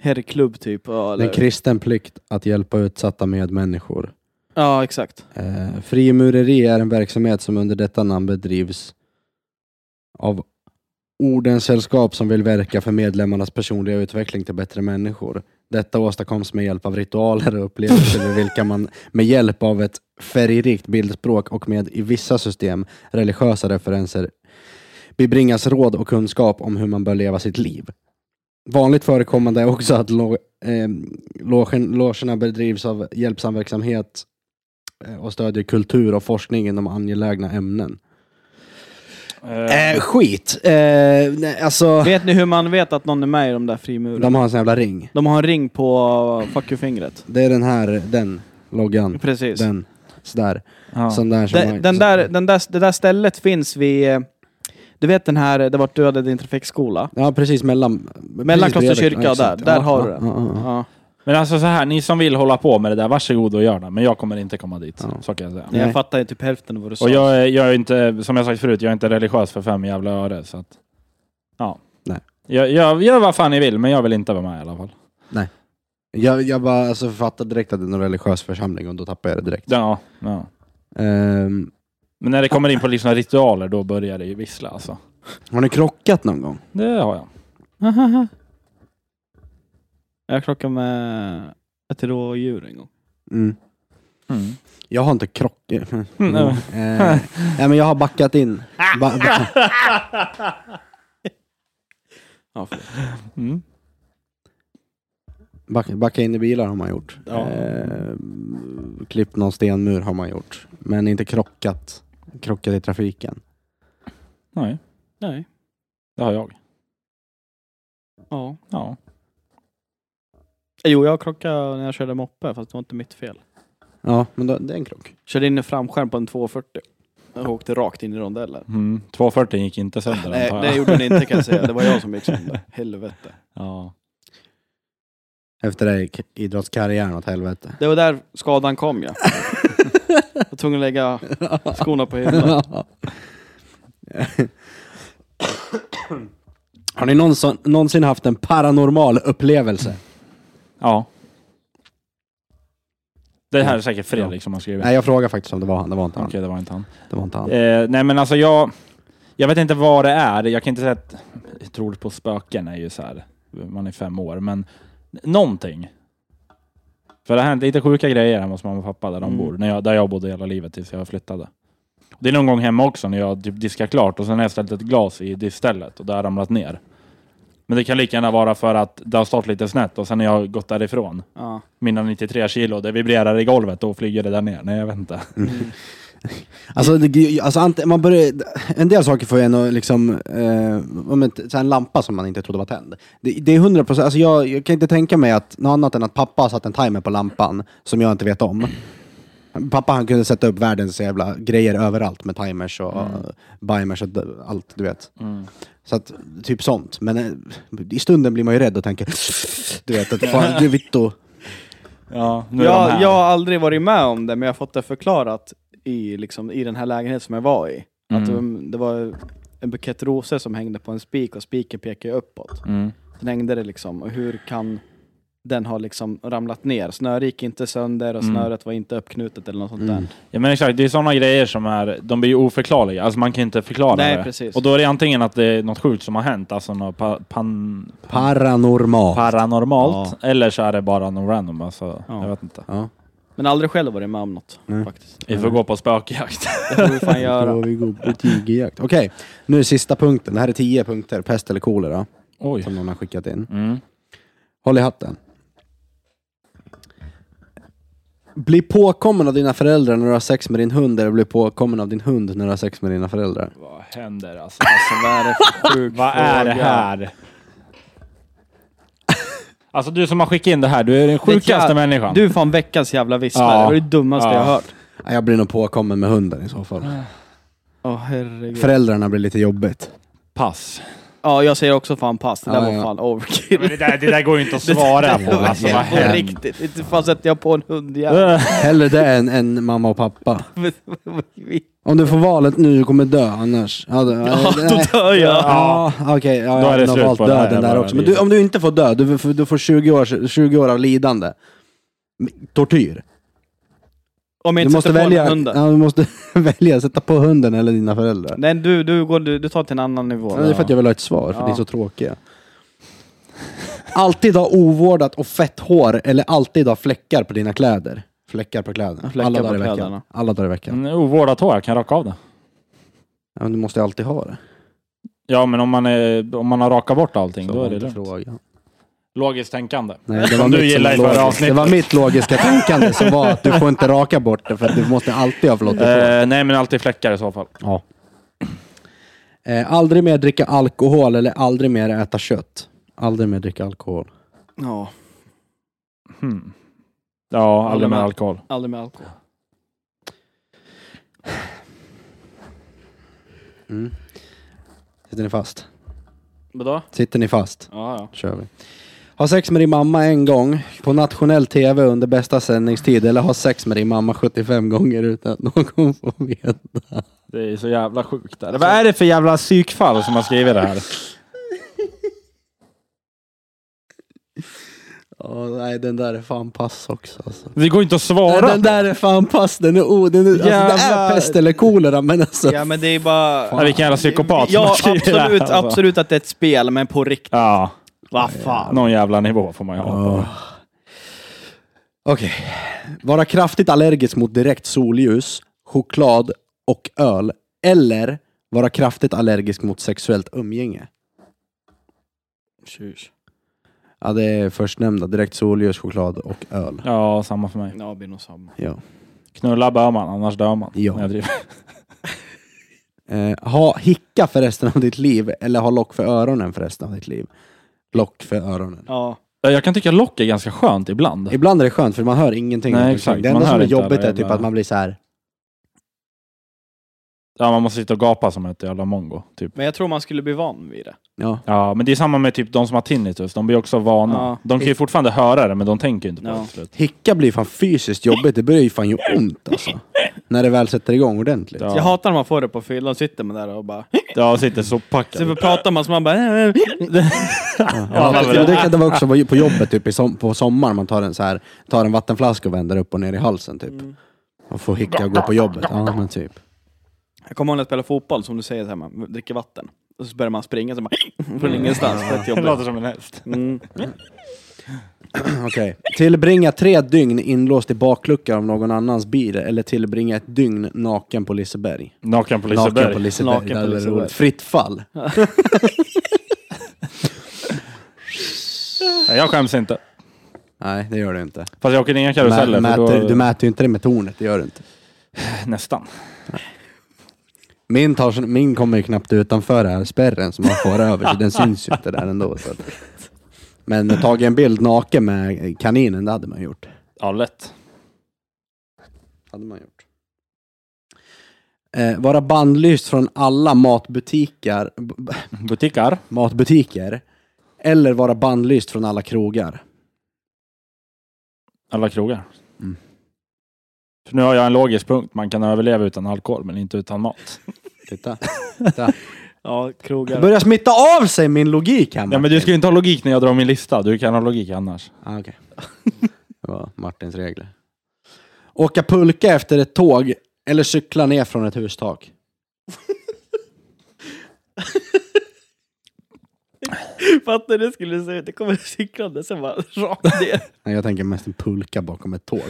S4: herrklubb typ. Ja,
S2: Det är en
S4: eller...
S2: kristen plikt att hjälpa utsatta medmänniskor.
S4: ja exakt.
S2: Eh, frimureri är en verksamhet som under detta namn bedrivs av ordens sällskap som vill verka för medlemmarnas personliga utveckling till bättre människor. Detta åstadkoms med hjälp av ritualer och upplevelser med vilka man med hjälp av ett färgrikt bildspråk och med i vissa system religiösa referenser bibringas råd och kunskap om hur man bör leva sitt liv. Vanligt förekommande är också att lo- eh, logen, logerna bedrivs av hjälpsamverksamhet eh, och stödjer kultur och forskning inom angelägna ämnen.
S1: Eh,
S2: skit! Eh, nej, alltså,
S4: Vet ni hur man vet att någon är med i de där frimurarna?
S2: de har en sån jävla ring.
S4: De har en ring på eh, fuck you fingret.
S2: Det är den här, den loggan.
S4: Precis. Den,
S2: Mm. Den. Sådär.
S1: ja.
S2: Sån där som
S4: den,
S2: man-
S4: där, den där, det där stället finns vid... eh, Du vet den här, det vart du hade din trafikskola?
S2: Ja, precis mellan...
S4: Mellan
S2: precis bredvid-
S4: Klosterkyrka
S2: ja,
S4: där,
S2: exakt.
S4: där
S2: Ja,
S4: har
S2: ja,
S4: du den.
S2: ja, ja, ja.
S4: Ja.
S1: Men alltså så här, ni som vill hålla på med det där, varsågod och gör det. Men jag kommer inte komma dit.
S2: Ja.
S1: Så kan jag säga.
S4: Nej,
S2: Nej.
S4: Jag fattar ju typ hälften av vad du sa.
S1: Och jag är, jag är inte, som jag sagt förut, jag är inte religiös för fem jävla öre. Så att, ja.
S2: Nej.
S1: Jag, jag, gör vad fan ni vill, men jag vill inte vara med i alla fall.
S2: Jag, jag bara alltså, fattade direkt att det är någon religiös församling och då tappade jag det direkt.
S1: Ja, ja.
S2: Ehm,
S1: Men när det kommer in på liksom ritualer, då börjar det ju vissla alltså.
S2: har ni krockat någon gång?
S1: Det har jag.
S4: jag krockade med ett rådjur en gång.
S2: Mm.
S1: Mm.
S2: Jag har inte krockat.
S1: Mm,
S2: Mm. Eh, nej, men jag har backat in. Ba, ba,
S4: Ja, förlåt.
S1: Mm.
S2: back, backa in i bilar har man gjort.
S1: Ja.
S2: Eh, klippt någon stenmur har man gjort. Men inte krockat. Krockat i trafiken.
S1: Nej,
S4: Nej.
S1: det har jag.
S4: Ja.
S1: Ja.
S4: Eh, Jo, jag krockade när jag körde moppe, fast det var inte mitt fel.
S2: Ja, men då, det är en krock.
S4: Körde in i framskärm på en 240. Jag åkte rakt in i rondellen.
S1: Mm. 240 gick inte sönder
S4: Nej,
S1: antar
S4: det
S1: jag.
S4: gjorde den inte kan jag säga. Det var jag som gick sönder. Helvete.
S1: Ja.
S2: Efter det gick idrottskarriären åt helvete.
S4: Det var där skadan kom ja. Jag var tvungen att lägga skorna på hyllan.
S2: Har ni någonsin, någonsin haft en paranormal upplevelse?
S1: ja. Det här är säkert liksom, Fredrik som har skrivit.
S2: Nej, jag frågar faktiskt om det var han. Det var inte
S1: Okej,
S2: han.
S1: det var inte han.
S2: Det var inte han.
S1: Eh, nej, men alltså jag... Jag vet inte vad det är. Jag kan inte säga att... Jag tror på spöken är ju så här... Man är fem år, men... Någonting. För det har hänt lite sjuka grejer hemma hos mamma och pappa där de
S4: Mm.
S1: bor. När jag, där jag bodde hela livet tills jag flyttade. Det är någon gång hemma också när jag typ diskar klart och sen har jag ställt ett glas i diskstället och det har ramlat ner. Men det kan lika gärna vara för att det har stått lite snett och sen har jag gått därifrån.
S4: Ja.
S1: Mina 93 kilo, det vibrerar i golvet och flyger det där ner. Nej, jag vet inte.
S2: Alltså, det, alltså ant- man börjar, en del saker får en att liksom, eh, om ett, så här en lampa som man inte trodde var tänd. Det, det är 100 procent, alltså jag, jag kan inte tänka mig att något annat än att pappa har satt en timer på lampan som jag inte vet om. Pappa han kunde sätta upp världens jävla grejer överallt med timers och
S4: Mm.
S2: bimers och d- allt, du vet.
S1: Mm.
S2: Så att, typ sånt. Men eh, i stunden blir man ju rädd och tänker, du vet, att fan, du Vitto.
S1: Ja, nu är de
S4: Jag,
S1: här.
S4: jag har aldrig varit med om det, men jag har fått det förklarat i, liksom, i den här lägenheten som jag var i. Att
S1: Mm.
S4: det, det var en bukett rosor som hängde på en spik och spiken pekade uppåt.
S1: Mm.
S4: Sen hängde det liksom, och hur kan den ha liksom ramlat ner? Snöret gick inte sönder och
S1: Mm.
S4: snöret var inte uppknutet eller något sånt
S2: Mm.
S4: där.
S1: Ja men exakt, det är sådana grejer som är, de blir ju oförklarliga. Alltså man kan inte förklara
S4: Nej,
S1: det.
S4: precis.
S1: Och då är det antingen att det är något sjukt som har hänt, alltså något pa, pan,
S2: Paranormal.
S1: paranormalt, eller så är det bara något random. Alltså,
S4: Ja.
S1: Jag vet inte.
S2: ja.
S4: Men aldrig själv varit med om något
S2: Nej.
S4: faktiskt.
S1: Vi får gå på spökjakt.
S4: Det får vi fan göra.
S2: Då vi går på tigerjakt. Okej, nu är sista punkten. Det här är tio punkter. Pest eller kolera,
S1: Oj.
S2: som någon har skickat in.
S1: Mm.
S2: Håll i hatten. Bli påkommen av dina föräldrar när du har sex med din hund eller bli påkommen av din hund när du har sex med dina föräldrar.
S1: Vad händer alltså? alltså vad är det för sjuk Vad är det här? Alltså du som har skickat in det här, du är den sjukaste
S4: jä-
S1: människan.
S4: Du är fan veckans jävla visslare,
S1: Ja.
S4: det var det dummaste
S1: Ja.
S4: jag har hört.
S2: Nej, Jag blir nog påkommen med hunden i så fall.
S4: Åh herregud.
S2: Föräldrarna blir lite jobbigt.
S1: Pass.
S4: Ja, jag säger också fan pass, det där
S2: Ja,
S4: var
S2: ja.
S4: fan overkill.
S1: Men det, där, det där går ju inte att svara på. Alltså, vad
S4: på
S1: händer?
S4: riktigt, inte fan sätter jag på en hundjävel.
S2: Hellre det än, än mamma och pappa.
S4: Vi-
S2: Om du får valet nu, du kommer dö annars. Ja, då,
S4: ja, då
S2: nej.
S4: dör jag.
S2: Ja, okej. Ja,
S1: Då är
S2: jag
S1: det
S2: hade
S1: slut
S2: valt
S1: på det här
S2: döden där
S1: jävla
S2: också. Men du,
S1: livet.
S2: om du inte får dö, du, får- du får 20 år, 20 år av lidande. M- Tortyr.
S4: Om jag
S2: Du
S4: inte
S2: måste,
S4: sätter på
S2: välja,
S4: den hunden.
S2: ja, du måste välja, sätta på hunden eller dina föräldrar.
S4: Nej, du, du, går, du, du tar till en annan nivå.
S2: Ja, det är för att jag vill ha ett svar, för
S4: Ja.
S2: ni är så tråkiga. Alltid ha ovårdat och fett hår eller alltid ha fläckar på dina kläder. Fläckar på kläderna.
S4: Fläckar
S2: Alla
S4: på
S2: dagar i veckan.
S4: kläderna.
S2: Alla dagar i veckan.
S1: Mm, Ovårdat hår, jag kan raka av det.
S2: Ja, men du måste ju alltid ha det.
S1: Ja, men om man, är, om man har rakat bort allting, då är det lugnt.
S2: frågan.
S1: Logiskt tänkande.
S2: Nej, det var,
S1: Som
S2: mitt
S1: du
S2: som
S1: gillar i
S2: var
S1: förra
S2: logiskt. det
S1: avsnittet.
S2: var mitt logiska tänkande som var att du får inte raka bort det för att du måste alltid ha flottigt hår.
S1: Eh, nej, men alltid fläckar i så fall.
S2: Ja. Eh, aldrig mer dricka alkohol eller aldrig mer äta kött. Aldrig mer dricka alkohol.
S4: Ja,
S1: Hmm. Ja,
S4: Håller
S1: aldrig med
S4: med.
S1: alkohol.
S4: aldrig med alkohol.
S2: Mm. Sitter ni fast?
S5: Vadå?
S2: Sitter ni fast?
S5: Ja, ja.
S2: kör vi. Ha sex med din mamma en gång på nationell tv under bästa sändningstid eller ha sex med din mamma 75 gånger utan att någon får veta.
S1: Det är så jävla sjukt. Där. Vad är det för jävla psykfall som har skrivit det här?
S2: Ja, nej, den där är fan pass också alltså.
S1: Det går inte att
S2: Nej,
S1: svara.
S2: den där är fan pass, den är, oh, den är, alltså, den är
S4: Jävlar.
S2: pest eller kolera men alltså.
S4: Ja men det är bara...
S1: Ja, vilken jävla psykopat som
S4: Ja
S1: har skrivit det här,
S4: absolut,
S1: alltså.
S4: absolut att det är ett spel, men på riktigt.
S1: Ja,
S4: Vad fan.
S1: någon jävla nivå får man ju ha.
S2: Ja. Okej. Vara kraftigt allergisk mot direkt solljus, choklad och öl. Eller vara kraftigt allergisk mot sexuellt umgänge.
S5: Tjus.
S2: Ja, det är förstnämnda. Direkt solljus, choklad och öl.
S1: Ja, samma för mig.
S5: Ja, det blir nog samma.
S2: Ja.
S1: Knulla bör man, annars dör man.
S2: Ja.
S1: När jag driver.
S2: Eh, ha hicka för resten av ditt liv eller ha lock för öronen för resten av ditt liv. Lock för öronen.
S5: Ja.
S1: Jag kan tycka lock är ganska skönt ibland.
S2: Ibland är det skönt för man hör ingenting.
S1: Nej, exakt.
S2: Det
S1: Man
S2: enda
S1: hör
S2: som är
S1: inte alla
S2: jobbigt är typ
S1: jävla-
S2: att man blir så här.
S1: Ja, man måste sitta och gapa som ett jävla mongo. Typ.
S5: Men jag tror man skulle bli van vid det.
S2: Ja.
S1: Ja, men det är samma med typ de som har tinnitus. De blir också vana.
S5: Ja.
S1: De kan ju fortfarande höra det, men de tänker ju inte på
S5: Ja.
S1: det till slut.
S2: Hicka blir fan fysiskt jobbigt. Det börjar ju fan göra ont alltså. När det väl sätter igång ordentligt.
S1: Ja.
S5: Jag hatar när man får det på fyllan, sitter man där och bara...
S1: Ja, sitter så packad.
S5: Så pratar man så man bara...
S2: Ja,
S1: men
S2: men det kan det vara också vara på jobbet typ, i som, på sommaren. Man tar en, så här, tar en vattenflaska och vänder upp och ner i halsen typ. Och får hicka och gå på jobbet. Ja, men typ.
S5: Jag kommer ihåg när jag spelade fotboll, som du säger, så här, man dricker vatten. Och så börjar man springa så man
S1: Mm.
S5: från ingenstans. Fett
S1: Det låter
S5: jobbigt.
S1: som en häst.
S5: Mm.
S2: Okej. Tillbringa tre dygn inlåst i bakluckan av någon annans bil eller tillbringa ett dygn naken på Liseberg.
S1: Naken på
S2: Naken på
S1: Liseberg.
S2: Liseberg.
S5: Naken
S2: det
S5: på
S2: hade varit
S5: Liseberg.
S2: roligt. Fritt fall.
S1: Nej, Jag skäms inte.
S2: Nej, det gör du inte.
S1: Fast jag åker inga
S2: Mä,
S1: karuseller. för
S2: mäter,
S1: då...
S2: Du mäter ju inte det med tornet, det gör du inte.
S1: Nästan.
S2: Min, tar, min kommer ju knappt utanför här spärren som man får över, så den syns ju inte där ändå. Så. att- Men tagit en bild naken med kaninen, det hade man gjort.
S1: Ja, lätt.
S2: Hade man gjort. Eh, vara bandlyst från alla matbutiker, b- b-
S1: Butikar.
S2: matbutiker eller vara bandlyst från alla krogar.
S1: Alla krogar.
S2: Mm.
S1: För nu har jag en logisk punkt. Man kan överleva utan alkohol, men inte utan mat.
S2: Titta.
S5: Ja,
S2: Det
S5: krogar.
S2: börjar smitta av sig min logik här
S1: Ja, men du ska ju inte ha logik när jag drar min lista. Du kan ha logik annars.
S2: Ah, okej. Det var Martins regler. Åka pulka efter ett tåg eller cykla ner från ett hustak.
S5: Fattar du det skulle se ut? Det kommer cyklande, sen bara rakt ner.
S2: Nej, Jag tänker mest en pulka bakom ett tåg.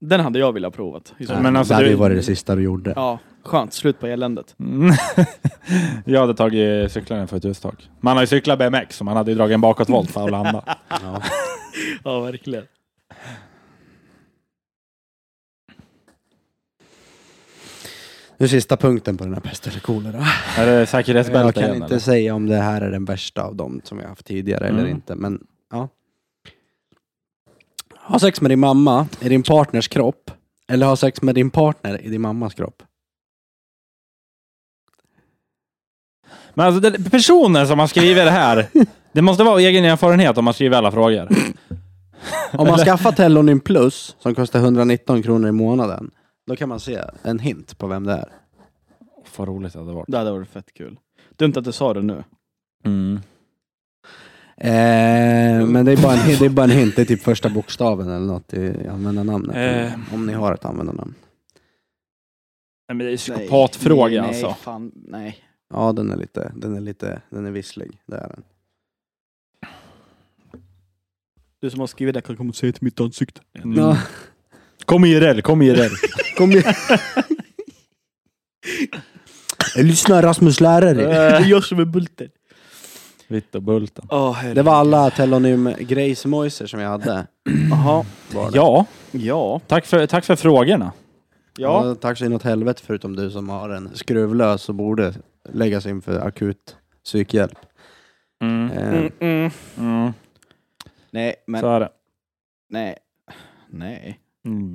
S5: Den hade jag velat provat. i så fall.
S1: Men alltså,
S2: det hade
S1: du-
S2: ju varit det sista du gjorde.
S5: Ja, skönt. Slut på eländet.
S1: Mm. jag hade tagit cyklaren för ett hustak. Man har ju cyklat BMX, så man hade ju dragit en bakåtvolt för att landa.
S2: Ja.
S5: Ja, verkligen.
S2: Nu sista punkten på den här pest eller kolera.
S1: Är det
S2: Jag
S1: säkerhetsbälte
S2: kan
S1: igen?
S2: inte
S1: eller?
S2: säga om det här är den värsta av dem som vi har haft tidigare eller
S1: Mm.
S2: inte, men ja. Ha sex med din mamma i din partners kropp eller ha sex med din partner i din mammas kropp.
S1: Men alltså, det, personen som har skrivit det här, det måste vara egen erfarenhet om man skriver alla frågor.
S2: Om man skaffar Tellonym Plus, som kostar 119 kronor i månaden, då kan man se en hint på vem det är.
S1: Vad roligt det hade varit.
S5: Det hade varit fett kul. Dumt att du sa det nu.
S1: Mm.
S2: Eh, men det är, bara en, hint- det är bara en hint, det är typ första bokstaven eller något i användarnamnet.
S1: Eh.
S2: Om ni har ett användarnamn.
S1: Nej, men det är ju psykopatfråga
S5: nej, nej,
S1: alltså.
S5: Fan, nej.
S2: Ja, den är lite, den är lite, den är visslig. Det är den.
S5: Du som har skrivit det kan komma och säga till mitt ansikte.
S1: Mm. Kom IRL, kom IRL.
S2: Kom igen. Lyssna Rasmus lärare.
S1: Eh.
S5: Det är jag som är Bulten.
S1: Vitt och Bulten.
S5: Oh,
S2: Det var alla telonym grejsmojser som jag hade.
S5: Jaha.
S1: Ja,
S5: Ja.
S1: tack för, tack för frågorna.
S5: Ja.
S2: Tack så inåt helvete förutom du som har en skruvlös och borde läggas in för akut psykhjälp.
S1: Mm.
S2: Eh,
S5: Mm, mm.
S1: Mm.
S5: Nej, men
S1: Så är det.
S5: nej. Nej.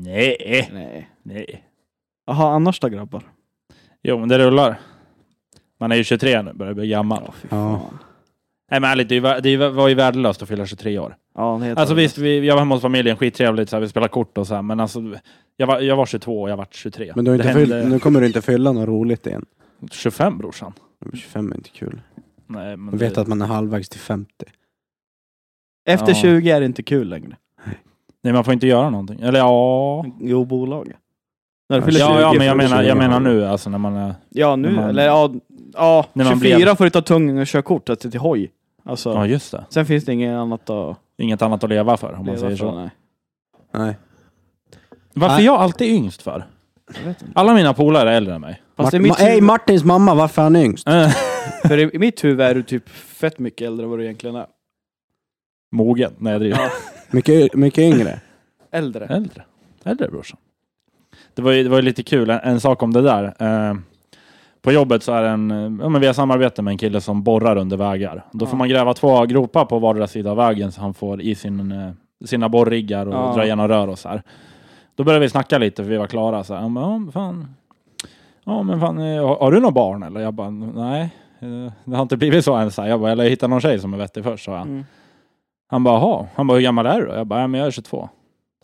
S1: Nej,
S5: Nej.
S1: nej.
S5: Jaha, annars då grabbar?
S1: Jo, men det rullar. Man är ju 23 nu, börjar bli gammal.
S4: fy
S6: Ja.
S4: fan.
S1: Nej men ärligt, det, är ju vär- det är ju- var ju värdelöst att fylla 23 år.
S4: Ja, det heter
S1: Alltså
S4: det.
S1: visst, vi, jag var hemma hos familjen, skittrevligt, så här, vi spelade kort och så här, men alltså jag var, jag var 22 och jag var 23.
S2: Men du har
S1: det
S2: inte
S1: hände
S2: fyll, nu kommer du inte fylla något roligt igen.
S1: 25 brorsan.
S2: 25 är inte kul.
S1: Nej, men
S2: Jag vet
S1: det,
S2: att man är halvvägs till 50.
S4: Efter
S1: Ja.
S4: 20 är det inte kul längre.
S1: nej, man får inte göra någonting. Eller ja...
S4: Jo, bolag. När du fyller 20
S1: Ja, ja men jag
S4: fyller du
S1: menar,
S4: 20.
S1: jag menar nu alltså när man är...
S4: Ja, nu.
S1: När man-
S4: eller ja, ja
S1: När man
S4: 24
S1: blir-
S4: får du ta tungan och köra kort alltså, till hoj. Alltså,
S1: Ja just det.
S4: Sen finns det inget annat att
S1: Inget annat att leva för om man
S4: leva
S1: säger
S4: för,
S1: så.
S4: nej.
S2: Nej.
S1: Varför är jag alltid yngst för? Alla mina polare är äldre än mig.
S4: Fast i
S2: Mart-
S4: mitt
S2: Ma- Hej
S4: huvud,
S2: Martins mamma, varför är han yngst?
S1: Eh,
S4: för i mitt huvud är du typ fett mycket äldre än vad du egentligen är.
S1: Mogen. Nej jag driver.
S2: Mycket, mycket yngre.
S4: Äldre.
S1: Äldre. Äldre brorsan. Det var ju, det var ju lite kul, en, en sak om det där. Eh, på jobbet så är det en, eh, ja, men vi har samarbete med en kille som borrar under vägar. Då får
S4: Ja.
S1: man gräva två gropar på vardera sida av vägen så han får i sin, eh, sina borriggar och
S4: Ja.
S1: dra igenom rör och så här. Då började vi snacka lite för vi var klara. Så här. Han bara, ja men fan. Ja men fan, eh, har, har du några barn eller? Jag bara, nej. eh, Det har inte blivit så än. Så här. Jag bara, eller hitta någon tjej som är vettig först, sa han.
S4: Mm.
S1: Han bara, jaha. Han bara, hur gammal är du då? Jag bara, ja, men jag är 22.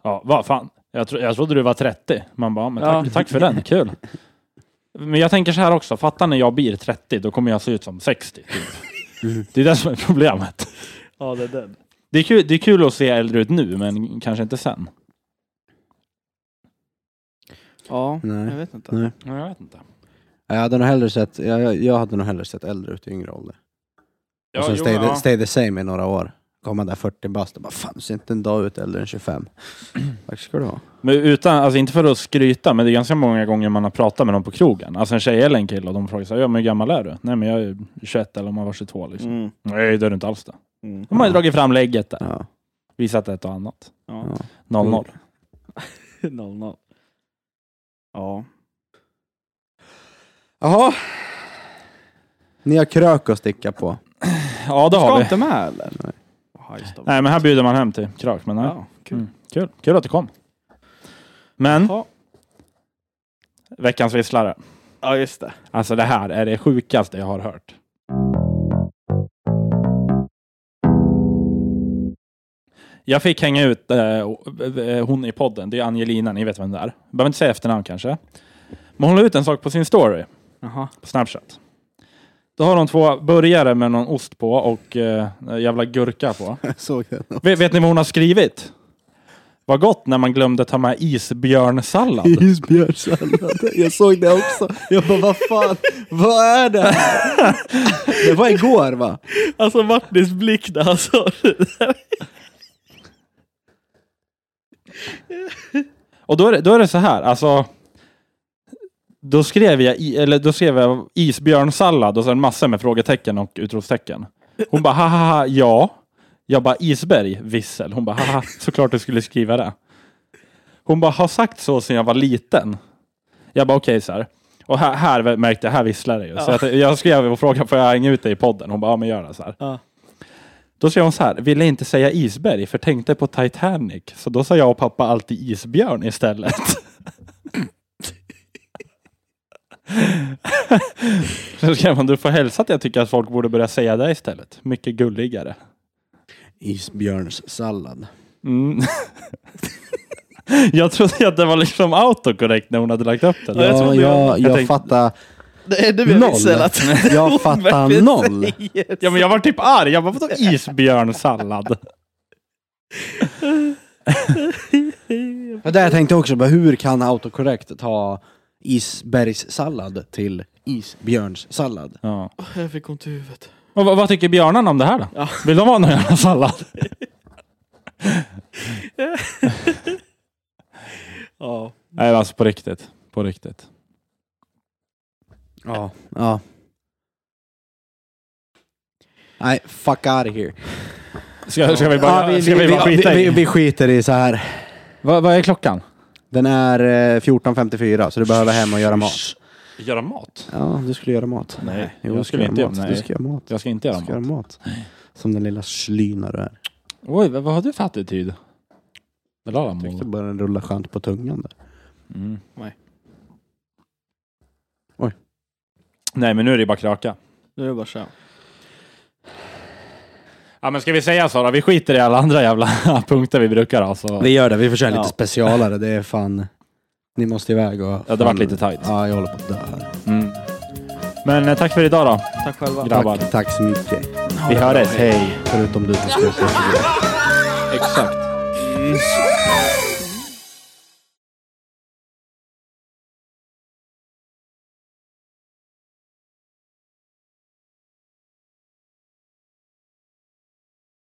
S1: Ja, vad fan. Jag, tro, jag trodde du var 30. Man bara, ja, men tack,
S4: Ja.
S1: tack för den, kul. Men jag tänker så här också, fatta när jag blir 30, då kommer jag se ut som 60. Typ. Det är det som är problemet.
S4: Ja, det är den.
S1: Det är, kul, det är kul att se äldre ut nu, men kanske inte sen.
S4: Ja, jag
S2: Nej.
S4: vet inte.
S2: Nej.
S1: Ja, Jag vet inte.
S2: Jag hade nog hellre sett, jag, jag hade nog hellre sett äldre ut i yngre ålder. och sen stay, the, stay the same i några år. Komma där 40 bast och bara fan du ser inte en dag ut äldre än 25. Tack ska du ha.
S1: Men utan, alltså inte för att skryta, men det är ganska många gånger man har pratat med dem på krogen. Alltså en tjej eller en kille och de frågar så här, ja, men hur gammal är du? Nej men jag är 21 eller om man var 22 liksom.
S4: Mm.
S1: Nej det är du inte alls det.
S4: Mm.
S1: De har ju dragit fram lägget där.
S2: Ja.
S1: Visat ett och annat.
S4: Ja.
S1: 0-0.
S4: 0-0. Ja.
S2: Jaha. Ni har krök att sticka på.
S1: Ja det har
S4: Ska
S1: vi.
S4: inte med eller?
S2: Nej.
S4: Hajs då.
S1: Nej men här bjuder man hem till krak. Men nej.
S4: Ja, kul. Mm.
S1: Mm. Kul. Kul att du kom. Men
S4: Ja.
S1: veckans visslare.
S4: ja, just det.
S1: Alltså det här är det sjukaste jag har hört. Jag fick hänga ut eh, hon i podden, det är Angelina, ni vet vem det är. Behöver inte säga efternamn kanske. Men hon la ut en sak på sin story,
S4: Jaha.
S1: på Snapchat. Då har de två burgare med någon ost på och eh, jävla gurka på.
S2: Jag såg den.
S1: Vet, vet ni vad hon har skrivit? Vad gott när man glömde ta med isbjörnsallad.
S2: Isbjörnssallad. Jag såg det också. Jag bara vad fan, vad är det här? Det var igår va?
S7: Alltså Martins blick när han sa det.
S1: Och då är, det, då är det så här, alltså. Då skrev jag, i, eller då skrev jag isbjörnsallad och sen massor med frågetecken och utropstecken. Hon bara haha, ja. Jag bara isberg, vissel. Hon bara haha, såklart du skulle skriva det. Hon bara har sagt så sedan jag var liten. Jag bara okej så här. Och här, här märkte jag, här visslar det ju. Så jag, jag skrev och frågade får jag hänga ut dig i podden? Hon bara ja men gör det så här.
S4: Ja.
S1: Då skrev hon så här, ville inte säga isberg för tänkte på Titanic. Så då sa jag och pappa alltid isbjörn istället. Så skrev hon, du får hälsa att jag tycker att folk borde börja säga det istället. Mycket gulligare.
S2: Isbjörnssallad.
S1: Mm. jag trodde att det var liksom autokorrekt när hon hade lagt upp den.
S2: Ja, jag,
S7: trodde
S2: jag,
S1: jag tänkte-
S2: fattar
S7: Det är det vi
S2: Noll.
S7: visste att
S2: Jag fattar
S7: verkligen
S2: noll.
S1: Ja, men jag var typ arg. Jag bara, vadå isbjörnsallad?
S2: Det där jag tänkte också, bara, hur kan autokorrekt ta isbergssallad till isbjörnssallad?
S1: Ja.
S7: Jag fick ont i huvudet.
S1: Och vad, vad tycker björnarna om det här då? Vill de ha någon jävla sallad?
S7: Ja.
S1: Nej, alltså på riktigt. På riktigt.
S2: Ja. ja. Nej, fuck out of here.
S1: Ska, ska vi bara,
S2: Ja, vi,
S1: ska vi,
S2: vi,
S1: bara
S2: vi,
S1: skita
S2: vi,
S1: i?
S2: vi skiter i så här.
S1: Vad, vad är klockan?
S2: Den är eh, 14.54 så du behöver hem och göra mat.
S1: Göra mat?
S2: Ja, du skulle göra mat.
S1: Nej,
S2: Jo,
S1: jag
S2: du
S1: skulle
S2: göra
S1: inte göra-
S2: mat.
S1: nej.
S2: Du ska göra mat.
S1: jag ska inte
S2: Du
S1: göra
S2: ska göra
S1: mat.
S2: mat. Som den lilla slyna du är.
S1: Oj, vad, vad har du för attityd? Eller alla
S2: Jag tyckte
S1: mål?
S2: bara den rulla skönt på tungan där.
S1: Mm.
S4: Nej.
S2: Oj.
S1: Nej, men nu är det bara kröka.
S4: Nu är det bara så. här.
S1: Ja, men ska vi säga så då? Vi skiter i alla andra jävla punkter vi brukar ha. Så.
S2: Vi gör det, vi försöker
S1: Ja.
S2: lite specialare. Det är fan... Ni måste iväg och...
S1: Ja, det
S2: fan-
S1: vart lite tight.
S2: Ja, jag håller på att dö här.
S1: Mm. Men eh, tack för idag då,
S4: Tack själva.
S1: grabbar.
S2: Tack, tack så mycket.
S1: Vi hörs. Hej.
S2: Förutom du som ska säga
S1: Exakt.
S8: Exakt.